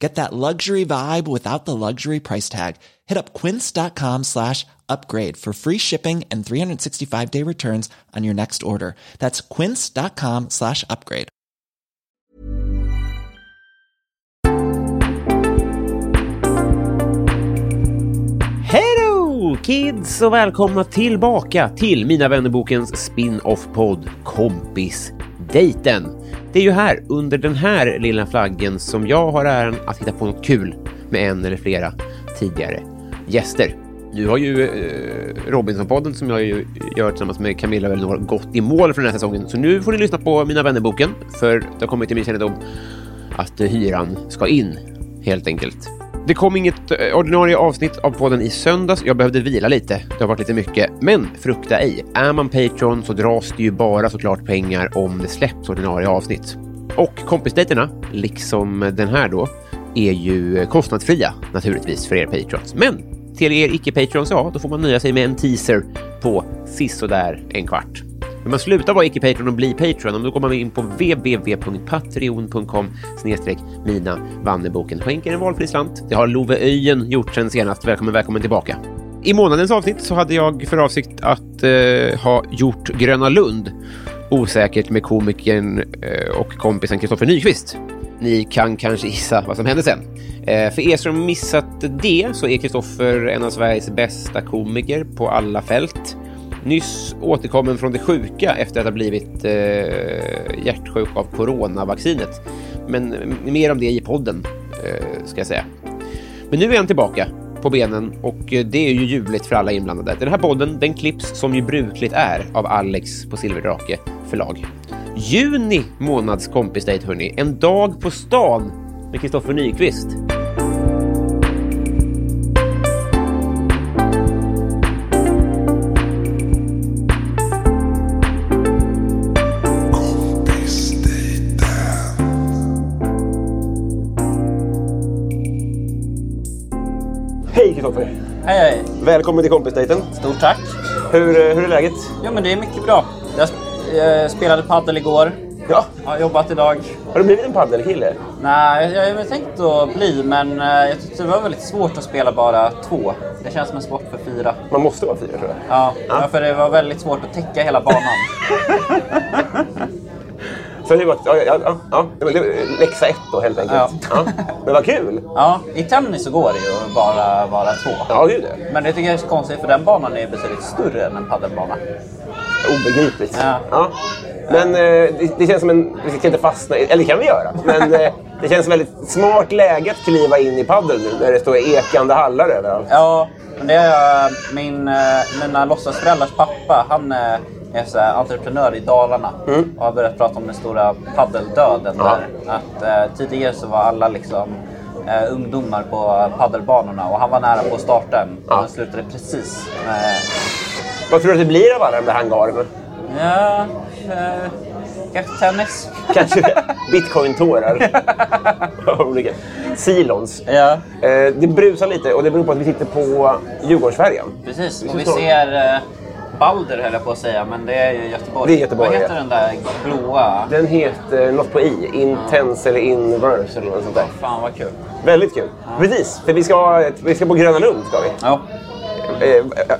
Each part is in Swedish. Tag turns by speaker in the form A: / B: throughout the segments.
A: Get that luxury vibe without the luxury price tag. Hit up quince.com slash upgrade for free shipping and 365-day returns on your next order. That's quince.com slash upgrade.
B: Hello kids och välkomna tillbaka till Mina vännerbokens spin-off-podd Kompisdejten. Det är ju här, under den här lilla flaggen, som jag har äran att hitta på något kul med en eller flera tidigare gäster. Nu har ju eh, Robinsonpodden, som jag ju gör tillsammans med Camilla och Elinor, gått i mål för den här säsongen. Så nu får ni lyssna på Mina vännerboken, för det har kommit till min kännedom att eh, hyran ska in, helt enkelt. Det kom inget eh, ordinarie avsnitt av podden i söndags. Jag behövde vila lite. Det har varit lite mycket. Men frukta ej. Är man Patreon så dras det ju bara såklart pengar om det släpps ordinarie avsnitt. Och kompisdejterna, liksom den här då, är ju kostnadsfria naturligtvis för er Patreons. Men till er icke-Patreons, ja, då får man nöja sig med en teaser på sisådär en kvart. När man slutar vara icke-Patreon och blir Patreon, då går man in på www.patreon.com snedstreck mina Wannerboken. Skänker en valfri slant. Det har Love Öjen gjort sen senast. Välkommen, välkommen tillbaka. I månadens avsnitt så hade jag för avsikt att eh, ha gjort Gröna Lund osäkert med komikern eh, och kompisen Kristoffer Nyqvist. Ni kan kanske gissa vad som hände sen. Eh, för er som missat det så är Kristoffer en av Sveriges bästa komiker på alla fält. Nyss återkommen från det sjuka efter att ha blivit eh, hjärtsjuk av coronavaccinet. Men m- mer om det i podden, eh, ska jag säga. Men nu är han tillbaka på benen och eh, det är ju ljuvligt för alla inblandade. Den här podden den klipps som ju brukligt är av Alex på Silverdrake förlag. Juni månads kompisdejt, hörni. En dag på stan med Kristoffer Nyqvist. Hej Kristoffer!
C: Hej, hej.
B: Välkommen till kompisdejten.
C: Stort tack.
B: Hur, eh, hur är läget?
C: Jo, men det är mycket bra. Jag sp- eh, spelade paddel igår.
B: Ja,
C: Har jobbat idag.
B: har du blivit en paddelkille?
C: Nej, jag hade tänkt att bli, men eh, jag tyckte det var väldigt svårt att spela bara två. Det känns som en sport för fyra.
B: Man måste vara fyra tror jag.
C: Ja, ja. för det var väldigt svårt att täcka hela banan.
B: Så det var, ja, ja, ja, ja, det var- det var läxa ett då helt enkelt. Ja.
C: Ja.
B: Men vad kul!
C: Ja, i tennis så går det ju att bara vara två.
B: Ja, gud ja.
C: Men det tycker jag är konstigt, för den banan är ju betydligt större än en padelbana.
B: Obegripligt.
C: Ja.
B: Men eh, det, det känns som en... Vi ska inte fastna i, Eller det kan vi göra. Men eh, det känns som ett väldigt smart läge att kliva in i padel nu när det står ekande hallar överallt.
C: Ja, men det är eh, min, eh, mina låtsasföräldrars pappa. Han eh, är så här entreprenör i Dalarna och har börjat prata om den stora paddeldöden
B: Mm. Ja.
C: där. Att, eh, tidigare så var alla liksom eh, ungdomar på paddelbanorna och han var nära på att starta en.
B: Ja.
C: Men slutade precis med...
B: Vad tror du att det blir av alla de där hangarerna?
C: Ja, eh, kanske tennis.
B: Kanske bitcoin-tårar. Olika. Silons.
C: ja,
B: Eh, det brusar lite och det beror på att vi sitter på Djurgårdsfärjan.
C: precis.
B: Vi
C: Och vi
B: förstår.
C: ser eh, Balder höll jag på att säga, men det är ju Göteborg.
B: Det är Göteborg,
C: Vad
B: ja.
C: heter den där blåa?
B: Den heter något på i. Intense eller inverse eller något sånt där.
C: Fan vad kul.
B: Väldigt kul. Precis, för vi ska, vi ska på Gröna Lund. Ska vi.
C: Ja.
B: Eh, eh, eh,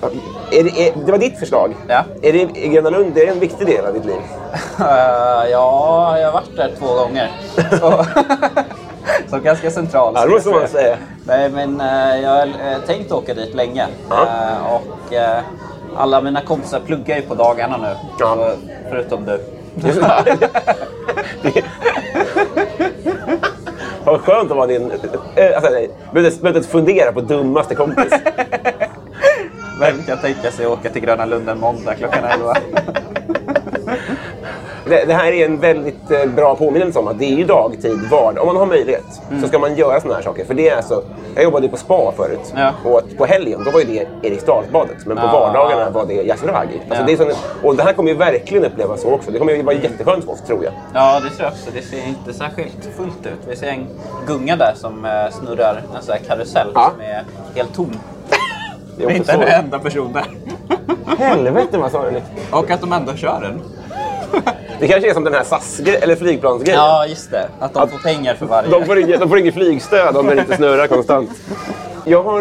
B: är det, är, det var ditt förslag.
C: Ja.
B: Är det, är Gröna Lund det är en viktig del av ditt liv?
C: Eh, ja, jag har varit där två gånger. Så, så ganska central.
B: Ja, det
C: skulle
B: måste
C: jag
B: man
C: säga.
B: säga.
C: Nej, men eh, jag har eh, tänkt åka dit länge.
D: Ja.
C: Eh, och eh, alla mina kompisar pluggar ju på dagarna nu.
D: Ja.
C: Så, Förutom du.
E: Det- Vad skönt att vara din... eh, Alltså, nej, behövde, behövde inte fundera på dummaste kompis.
C: Vem kan tänka sig åka till Gröna Lund en måndag klockan 11?
E: Det, det här är en väldigt eh, bra påminnelse om att det är ju dagtid, vardag. Om man har möjlighet
C: Mm.
E: så ska man göra såna här saker. För det är alltså, jag jobbade ju på spa förut.
C: Ja.
E: Och att på helgen då var ju det Eriksdalsbadet. Men på
C: Ja.
E: vardagarna var det Yasuragi. Alltså,
C: Ja.
E: det är sån, och det här kommer ju verkligen upplevas så också. Det kommer ju vara jätteskönt för oss, tror jag.
C: ja, det tror jag också. Det ser inte särskilt fullt ut. Vi ser en gunga där som eh, snurrar en sån här karusell
E: Ja.
C: som är helt tom.
E: Det är också så.
C: enda person där.
E: Helvete vad sorgligt.
C: Och att de ändå kör den.
E: Det kanske är som den här SAS eller flygplansgrejen.
C: Ja, just det. Att de får pengar för varje.
E: De får, inget, de får inget flygstöd om den inte snurrar konstant. Jag har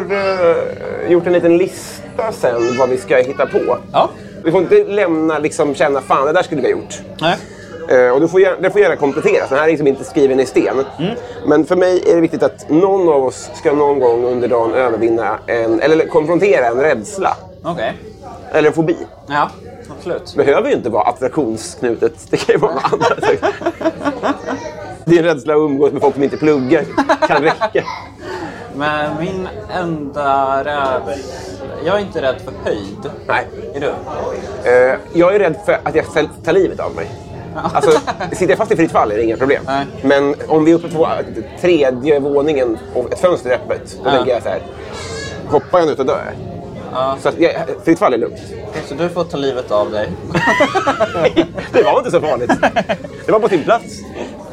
E: eh, gjort en liten lista sen vad vi ska hitta på.
C: Ja.
E: Vi får inte lämna liksom känna fan det där skulle vi ha gjort.
C: Nej.
E: Eh, och du får gärna, det får gärna kompletteras. Den här är liksom inte skriven i sten. Men för mig är det viktigt att någon av oss ska någon gång under dagen övervinna en, eller konfrontera en rädsla.
C: Okej.
E: Eller en fobi.
C: Ja, absolut.
E: Det behöver ju inte vara attraktionsknutet. Det kan ju vara andra saker. Din rädsla att umgås med folk som inte pluggar kan räcka.
C: Men min enda rädsla... Jag är inte rädd för höjd.
E: Nej.
C: Är du?
E: Eh, jag är rädd för att jag själv tar livet av mig. Alltså, sitter jag fast i fritt fall är det inga problem.
C: Nej.
E: Men om vi är uppe på tredje våningen och ett fönster är öppet, då
C: Ja.
E: tänker jag så här. Hoppar jag nu så dör jag.
C: Ja.
E: Så att jag, fritt fall är lugnt.
C: Så du får ta livet av dig.
E: Det var inte så farligt. Det var på sin plats.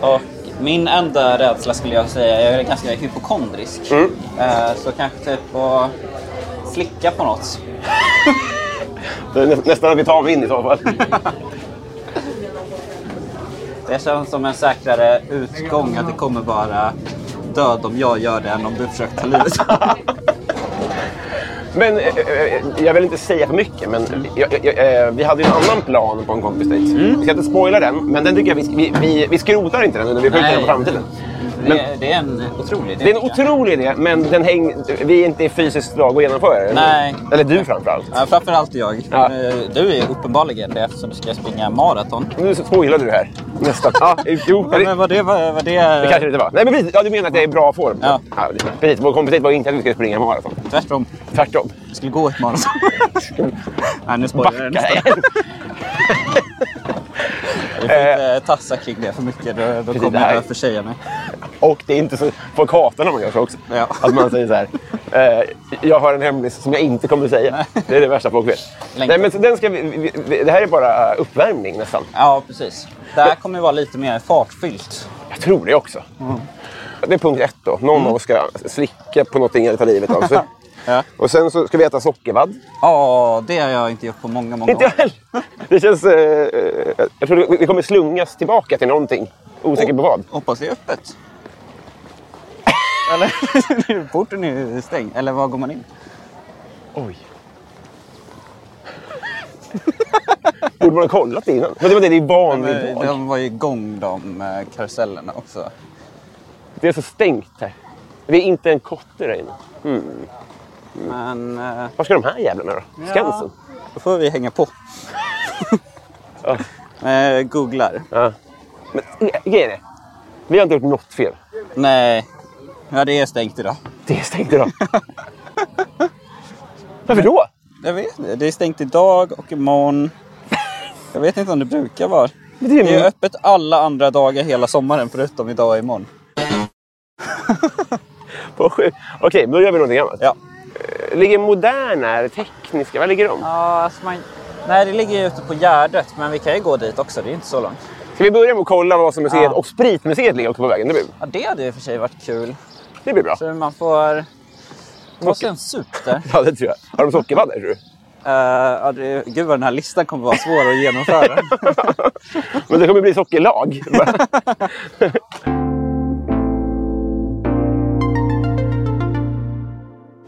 C: Och min enda rädsla skulle jag säga, jag är ganska hypokondrisk.
E: Mm.
C: Eh, Så kanske typ att slicka på något.
E: Det är nä- nästan att vi tar vind i så fall.
C: Det känns som en säkrare utgång att det kommer vara död om jag gör det än om du försöker ta livet av mig.
E: Men eh, eh, jag vill inte säga för mycket, men jag, jag, jag, eh, vi hade ju en annan plan på en kompis dejt.
C: Mm.
E: Vi ska inte spoila den, men den tycker jag vi, vi, vi, vi skrotar inte den, utan vi skjuter
C: Nej.
E: den på framtiden.
C: Det, det är en otrolig idé.
E: Det är en otrolig idé, men den häng, vi är inte i fysiskt lag att genomföra den.
C: Nej.
E: Eller du framförallt.
C: Ja, framförallt jag.
E: Ja.
C: Eh, Du är uppenbarligen det eftersom du ska springa maraton.
E: Nu spoilade du här. Nästan. Ja, jo, det,
C: Men vad det var... Vad det,
E: det kanske det inte var. Nej, men precis. Ja, du menar att det är bra form?
C: Ja.
E: det- precis. Vår kompis dejt var inte att vi skulle springa maraton.
C: Tvärtom.
E: Tvärtom.
C: Jag skulle gå ett maraton. Nej, nu spoilar jag det nästan. Vi får inte eh, tassa kring det för mycket. Då, då kommer
E: nej.
C: jag att försäga mig.
E: Och det är inte så... Folk hatar när man gör så också.
C: Ja.
E: Att man säger så här. Eh, jag har en hemlis som jag inte kommer att säga. Det är det värsta folk vet. Nej,
C: Längtar.
E: men så den ska vi, vi, vi, det här är bara eh, uppvärmning nästan.
C: Ja, precis. Det här kommer ju vara lite mer fartfyllt.
E: Jag tror det också.
C: Mm.
E: Det är punkt ett då. Någon av oss ska slicka på någonting eller ta livet av sig.
C: Ja.
E: Och sen så ska vi äta sockervadd.
C: Ja, det har jag inte gjort på många, många
E: Inte jag
C: år.
E: heller. Det känns... Eh, eh, jag tror vi- vi kommer slungas tillbaka till någonting. Osäker på vad.
C: Hoppas det är öppet. Eller? Porten är ju stängd. Eller var går man in?
E: Oj. Borde man ha kollat det innan? Men det var det, det är van vid
C: Men,
E: dag.
C: de var ju igång de eh, karusellerna också.
E: Det är så stängt här. Det är inte en kotte där inne.
C: Men eh,
E: Var ska de här jävlarna då? Skansen?
C: då får vi hänga på. Eh, Googlar.
E: Ja. Men eh, grejen är, vi har inte gjort något fel.
C: Nej. Ja, det är stängt idag.
E: Det är stängt idag. Varför då?
C: Jag vet inte. Det är stängt idag och imorgon. Jag vet inte om det brukar vara.
E: Men det är
C: Det är
E: ju-
C: öppet alla andra dagar hela sommaren förutom idag och imorgon.
E: Vad sjukt. Okej, men då gör vi någonting annat.
C: Ja.
E: Ligger Moderna, Tekniska, var ligger de?
C: Ja, alltså man... Nej, det ligger ju ute på Gärdet, men vi kan ju gå dit också. Det är inte så långt.
E: Ska vi börja med att kolla vad som museet
C: Ja.
E: och Spritmuseet ligger också på vägen? Det blir,
C: Ja, det hade ju för sig varit kul.
E: det blir bra.
C: Så man får ta sig en sup där.
E: Ja, det tror jag. Har de sockervadd där tror du?
C: Eh, ja, det, gud vad den här listan kommer vara svår att genomföra.
E: Men det kommer bli sockerlag.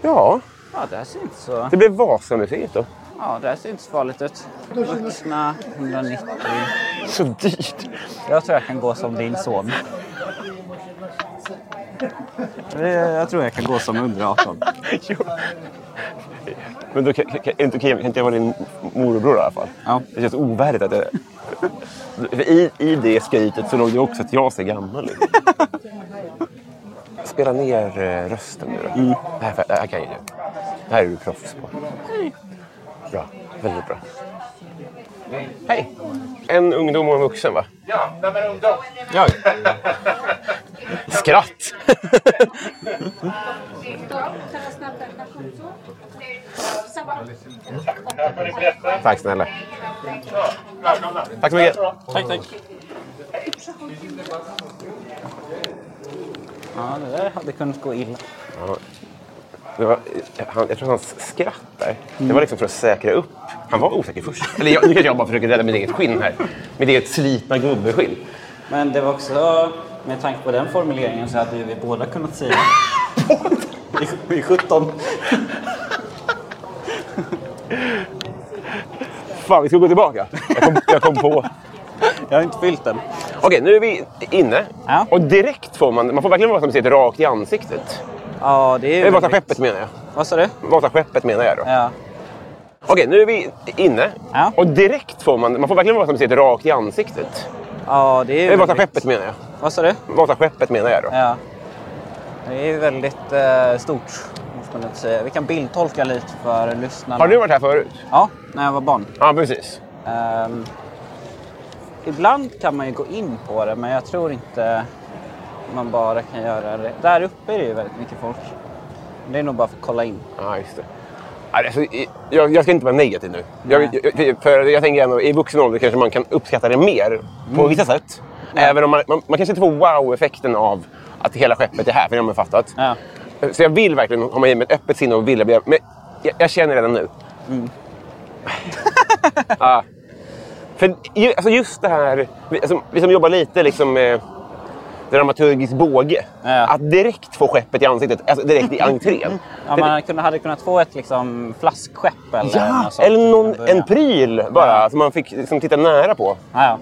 E: ja,
C: ja, det här ser inte så,
E: det blev Vasamuseet då.
C: ja, det här ser inte så farligt ut. Vuxna 190.
E: Så dyrt.
C: Jag tror jag kan gå som din son. Eh, Jag tror jag kan gå som under 18.
B: Jo. Men då kan, kan, är det inte okej? kan inte jag vara din morbror i alla fall?
C: Ja.
B: Det känns ovärdigt att jag... För I, I det skrytet så låg det också att jag ser gammal ut. Spela ner eh, rösten nu då. Det, här, det här kan ju du. Det här är du proffs på. Bra. Väldigt bra. Hej! En ungdom och en vuxen va? Ja, men ungdom. Ja. Skratt! Tack snälla. Tack så mycket. Tack, tack.
C: Ja, det där hade kunnat gå illa.
B: Det var, han, jag tror hans skratt där, det var liksom för att säkra upp. Han var osäker först. Eller jag, nu kanske jag bara försöker rädda mitt eget skinn här. Mitt eget slitna gubbeskinn.
C: Men det var också, med tanke på den formuleringen så hade ju vi båda kunnat säga i, i 17.
B: Fan, vi ska gå tillbaka. Jag kom, jag kom på.
C: Jag har inte fyllt den.
B: Okej, nu är vi inne.
C: Ja.
B: Och direkt får man, man får verkligen Vasasmuseet rakt i ansiktet.
C: Ja, det är
B: Eller
C: ju...
B: Vasaskeppet menar jag.
C: Vad sa du?
B: Vasaskeppet menar jag då.
C: Ja.
B: Okej, nu är vi inne.
C: Ja.
B: Och direkt får man, man får verkligen Vasasmuseet rakt i ansiktet.
C: Ja, det är ju...
B: Eller Vasaskeppet menar jag.
C: Vad sa du?
B: Vasaskeppet menar jag då.
C: Ja. Det är ju väldigt eh, stort, måste man inte säga. Vi kan bildtolka lite för lyssnarna.
B: Har du varit här förut?
C: Ja, när jag var barn.
B: Ja, precis.
C: Ehm, ibland kan man ju gå in på det, men jag tror inte man bara kan göra det. Där uppe är det ju väldigt mycket folk. Det är nog bara för att kolla in.
B: Ja, just det. Ja, Alltså, i- jag, jag ska inte vara negativ nu. Jag, jag, för jag tänker ändå, i vuxen ålder kanske man kan uppskatta det mer på
C: Mm.
B: vissa sätt. Även om man, man, man kanske inte får wow-effekten av att hela skeppet är här, för det har man fattat.
C: Ja.
B: Så jag vill verkligen ha mig med ett öppet sinne och vilja bli... Men jag, jag känner redan nu.
C: Mm.
B: ja. För ju, alltså just det här, vi, alltså, vi som jobbar lite liksom eh, dramaturgisk båge.
C: Ja.
B: Att direkt få skeppet i ansiktet, alltså direkt i entrén.
C: Ja, man hade kunnat, hade kunnat få ett liksom, flaskskepp eller
B: Ja,
C: något sånt
B: eller
C: från
B: någon,
C: början.
B: en pryl bara som man fick liksom, titta nära på.
C: Ja, ja.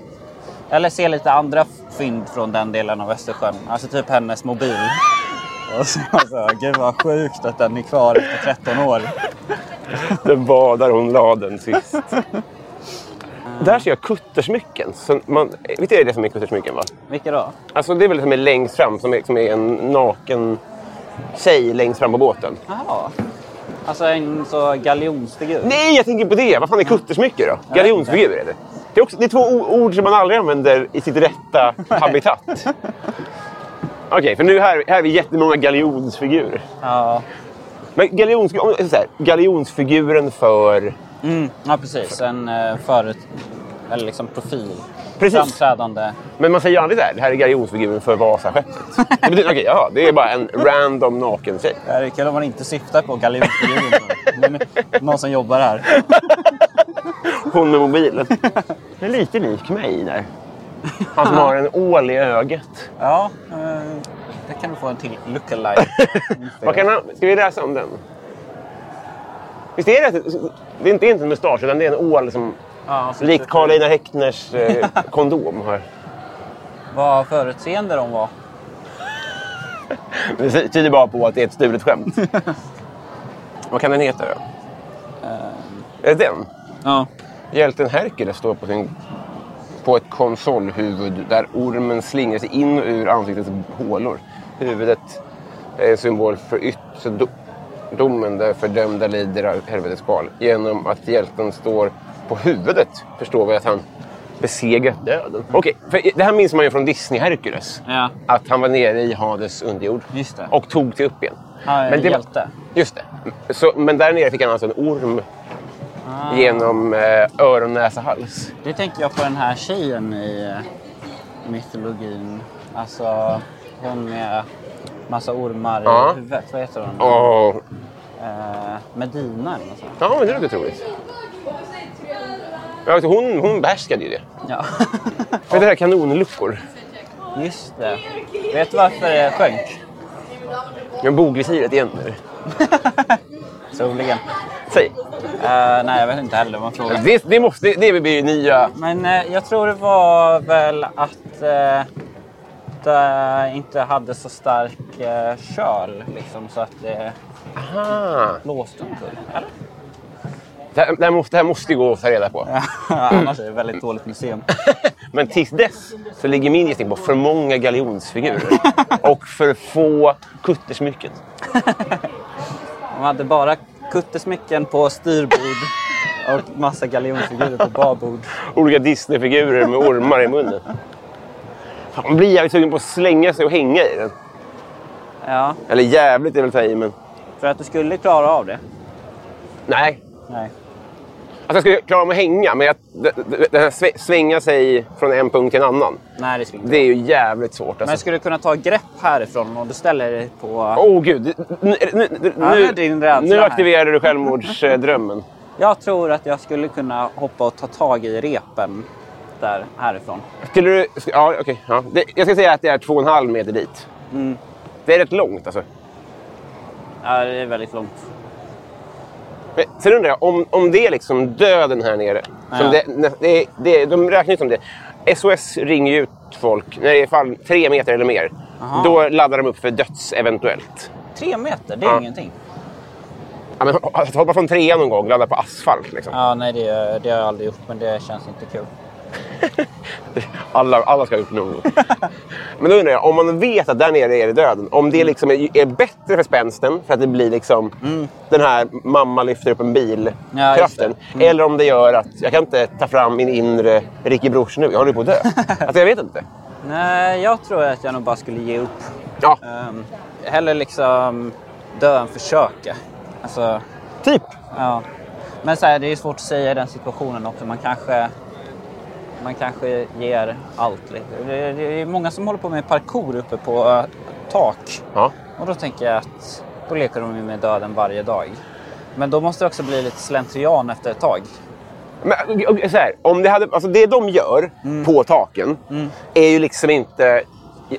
C: Eller se lite andra fynd från den delen av Östersjön. Alltså typ hennes mobil. Och så, alltså, gud vad sjukt att den är kvar efter 13 år.
B: Den var där hon la den sist. Där ser jag kuttersmycken. Så man, vet du det som är kuttersmycken? Va?
C: Vilka då?
B: Alltså, det är väl det som är längst fram, som är, som är en naken tjej längst fram på båten.
C: Jaha. Alltså en så galjonsfigur.
B: Nej, jag tänker på det! Vad fan är kuttersmycke då? Galjonsfigur är det. Det är, också, det är två o- ord som man aldrig använder i sitt rätta habitat. Okej, för nu här, här är vi jättemånga galjonsfigurer.
C: Ja,
B: Men galjons, om- så här, galjonsfiguren för...
C: mm. ja precis. En eh, förut... Eller liksom profil.
B: Precis.
C: Framträdande.
B: Men man säger ju aldrig så här, det här är galjonsfiguren för Vasaskeppet. Det betyder, okej, jaha, det är bara en random naken tjej.
C: Det här är kul om man inte syftar på galjonsfiguren. Men någon som jobbar här.
B: Hon med mobilen. Det är lite lik mig där. Han som har en ål i ögat.
C: Ja, eh, där kan du få en till lookalike.
B: Vad kan han, ska vi läsa om den? Visst är det, att- det är inte inte en mustasch, utan det är en ål som...
C: Ja, så-
B: Likt Carl Einar Häckners eh, kondom. Här.
C: Vad förutseende de var.
B: Det tyder bara på att det är ett stulet skämt. Vad kan den heta då? Är det den?
C: Ja.
B: Hjälten Herkules står på, sin, på ett konsolhuvud där ormen slingrar sig in och ur ansiktets hålor. Huvudet är en symbol för ytterdomen där fördömda lider av helvetets kval. Genom att hjälten står på huvudet förstår vi att han besegrat döden. Okej, för det här minns man ju från Disney-Herkules.
C: Ja.
B: Att han var nere i Hades underjord
C: Just det.
B: och tog sig upp igen.
C: Han är en
B: det var-
C: hjälte.
B: Just det. Så, men där nere fick han alltså en orm genom eh, öron, näsa, hals.
C: Nu tänker jag på den här tjejen i eh, mytologin. Alltså hon med massa ormar
B: Ja.
C: i huvudet. Vad heter hon?
B: Åh,
C: Eh, Medina eller något sånt.
B: Ja, men det låter troligt. Ja, Alltså, hon, hon behärskade ju det.
C: Ja.
B: För det här kanonluckor.
C: Just det. Vet du varför det sjönk?
B: Men bogvisiret igen. eller?
C: Troligen.
B: Säg.
C: Eh, nej, jag vet inte heller. Man frågar.
B: Det, det, måste, det blir ju nya...
C: Men eh, jag tror det var väl att eh, inte, inte hade så stark eh, köl liksom, så att det
B: Ah,
C: blåste omkull. Eller?
B: det, här, det, här måste, det här måste ju gå att ta reda på.
C: Annars är det väldigt dåligt museum.
B: Men tills dess så ligger min gissning på för många galjonsfigurer och för få kuttersmycken.
C: De hade bara kuttesmycken på styrbord och massa galjonfigurer på babord.
B: Olika Disneyfigurer med ormar i munnen. Fan, man blir jävligt sugen på att slänga sig och hänga i den.
C: Ja,
B: Eller jävligt är väl att ta i, men...
C: för att du skulle klara av det.
B: Nej.
C: Nej.
B: Alltså jag skulle klara av att hänga, men jag, det, det- det här sve- svänga sig från en punkt till en annan.
C: Nej, det skulle inte.
B: Det är ju jävligt svårt.
C: Men
B: Alltså.
C: skulle du kunna ta grepp härifrån om du ställer dig på...
B: Åh oh, gud, nu, nu, nu,
C: Ja, det är din rädsla
B: nu
C: här.
B: aktiverar du självmordsdrömmen.
C: Jag tror att jag skulle kunna hoppa och ta tag i repen där härifrån.
B: Skulle du... sk- Ja, okej. ja. Det- Jag ska säga att det är två och en halv meter dit.
C: Mm.
B: Det är rätt långt alltså.
C: Ja, det är väldigt långt.
B: Men sen undrar jag, om, om det är liksom döden här nere. Som
C: Ja.
B: det, nä- det, det, de räknar ut som det. SOS ringer ju ut folk när det är fall tre meter eller mer. Då laddar de upp för döds eventuellt.
C: Tre meter, det är
B: Ja.
C: ingenting.
B: Ja, men, att hoppa från trean någon gång, ladda på asfalt. Liksom.
C: Ja, nej, det, det har jag aldrig gjort, men det känns inte kul.
B: Alla, alla ska ha gjort någon gång. Men då undrar jag, om man vet att där nere är det döden. Om
C: Mm.
B: det liksom är, är bättre för spänsten, för att det blir liksom den här mamma lyfter upp en
C: Ja, just
B: bil-kraften.
C: det. Mm.
B: Eller om det gör att jag kan inte ta fram min inre Ricky Brors nu, jag håller på att dö. alltså jag vet inte.
C: Nej, jag tror att jag nog bara skulle ge upp.
B: Ja,
C: Um, hellre liksom dö än försöka. Alltså,
B: typ.
C: ja. Men så här, det är svårt att säga i den situationen också. Man kanske, man kanske ger allt. lite. Det, det är många som håller på med parkour uppe på eh, tak.
B: Ja.
C: Och då tänker jag att då leker de ju med döden varje dag. Men då måste det också bli lite slentrian efter ett tag.
B: Men, och- och- så här, om det, hade, alltså det de gör
C: Mm.
B: på taken är ju liksom inte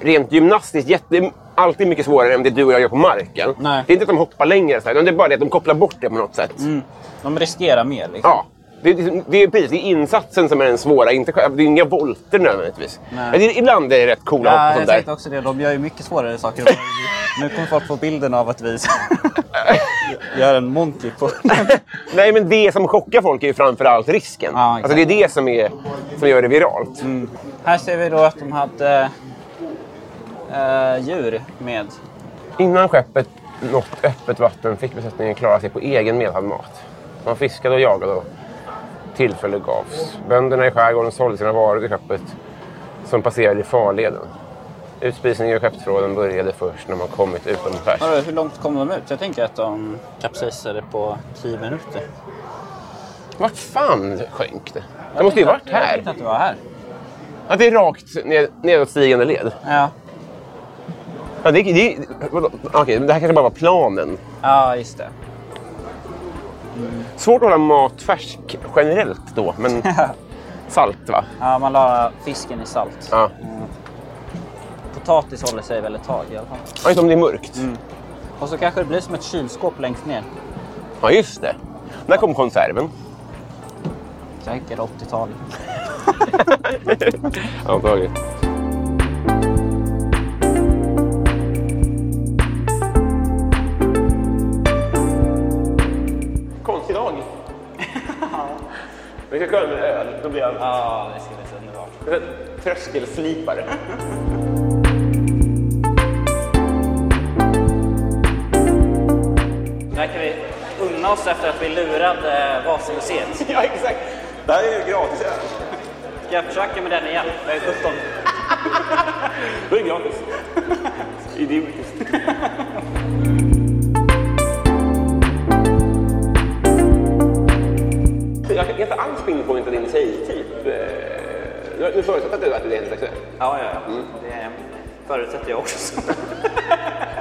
B: rent gymnastiskt jätte, alltid mycket svårare än det du och jag gör på marken.
C: Nej. Mm.
B: Det är inte att de hoppar längre, så här, utan det är bara det att de kopplar bort det på något sätt.
C: De riskerar mer. Liksom.
B: Ja. Det, det, det är precis det är insatsen som är den svåra, inte, själva- det är inga volter nödvändigtvis.
C: Nej.
B: Men det, ibland är det rätt coola hopp
C: Ja,
B: och
C: jag
B: sånt där.
C: tänkte också det. De gör ju mycket svårare saker. än vad vi- Nu kommer folk få bilden av att vi gör en monkey på...
B: Nej, men det som chockar folk är ju framförallt risken.
C: Ja,
B: alltså, det är det som, är, som gör det viralt.
C: Mm. Här ser vi då att de hade eh, djur med.
B: Innan skeppet nått öppet vatten fick besättningen klara sig på egen medhavd-mat. Man fiskade och jagade och tillfälle gavs. Bönderna i skärgården sålde sina varor till skeppet som passerade i farleden. Utspisningen i skeppsförråden började först när man kommit utomskärs.
C: Vadå, Hur långt kom de ut? Jag tänker att de kapsejsade på 10 minuter.
B: Vart fan sjönk det? Det måste ju varit
C: Jag
B: här.
C: tänkte att det var här.
B: Att det är rakt ned, nedåtstigande led.
C: Ja,
B: Ja, det, det, vadå? Okej, men det här kanske bara var planen.
C: ja just det.
B: Svårt att hålla mat färsk generellt då, men salt va?
C: Ja, man la fisken i salt.
B: Ja.
C: Potatis håller sig väl ett tag i alla fall.
B: Ja, just om det är mörkt.
C: Och så kanske det blir som ett kylskåp längst ner.
B: Ja, just det. När kom konserven?
C: Säkert 80-talet.
B: Antagligen. Konstig dag. Vi ska kolla med öl, då blir allt...
C: Ja, det skulle bli underbart.
B: Tröskelslipare.
C: Där kan vi unna oss efter att vi eh, lurade Vasamuseet.
B: ja, exakt. Det här är ju gratis öl.
C: Ska jag försöka med den igen? Jag är 17.
B: Då är det gratis. Idiotiskt. Jag är inte alls inne på inte din tjejtyp. Eh, Nu förutsätter du att du är heterosexuell.
C: Ja, ja, ja. Det förutsätter jag också.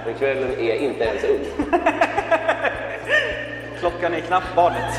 B: Men kvällen är inte ens ung.
C: Klockan är knappt barnet.